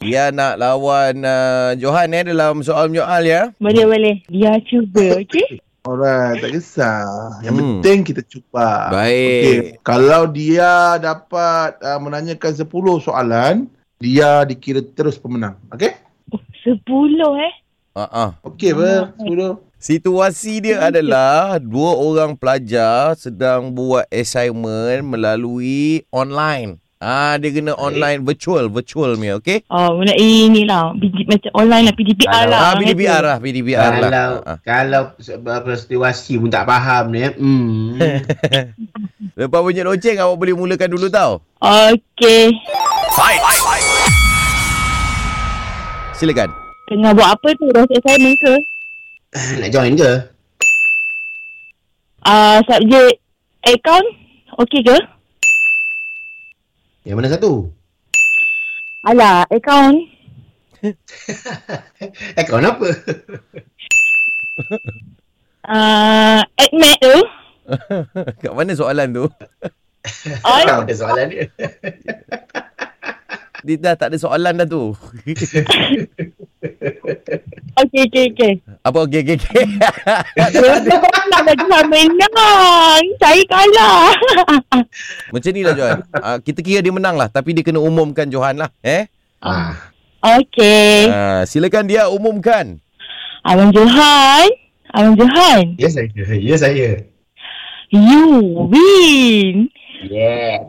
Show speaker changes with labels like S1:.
S1: Dia nak lawan uh, Johan eh dalam soal menyoal ya.
S2: Boleh boleh. Dia cuba, okey?
S3: Alright, tak kisah. Yang
S1: Hmm.
S3: hmm. penting kita cuba.
S1: Baik.
S3: Okey, kalau dia dapat uh, menanyakan 10 soalan, dia dikira terus pemenang. Okey?
S2: Sepuluh eh.
S1: Ha ah.
S3: Okey apa? 10.
S1: Situasi dia adalah dua orang pelajar sedang buat assignment melalui online. Ah dia kena online virtual virtual punya okey.
S2: Oh, mana ini lah. PG, macam online lah. PDPR
S4: Alah,
S2: lah.
S1: Ah
S2: orang
S1: PDPR
S2: kata.
S1: lah PDPR lah.
S4: Kalau
S1: Ah, ah.
S4: kalau se- apa situasi pun tak faham ni. eh. Hmm.
S1: Lepas bunyi loceng awak boleh mulakan dulu tau.
S2: Okey.
S1: Silakan.
S2: Tengah buat apa tu? Rosak assignment ke?
S4: Nak join ke?
S2: Ah, subjek account. Okey ke?
S4: Yang mana satu?
S2: Alah, account.
S4: Eh kau apa?
S2: Ah, admit tu.
S1: Kat mana soalan tu?
S2: Oh,
S4: Tak ada soalan dia.
S1: Dia dah tak ada soalan dah tu.
S2: okey, okey, okey.
S1: Apa okey okey okey.
S2: Kalah lagi lah menang. Saya kalah.
S1: Macam ni lah Johan. Ah, kita kira dia menang lah tapi dia kena umumkan Johan lah eh.
S4: Ah.
S2: Okey.
S1: Ah, silakan dia umumkan.
S2: Abang Johan. Abang Johan.
S4: Ya saya. Ya saya.
S2: You win.
S4: Yeah.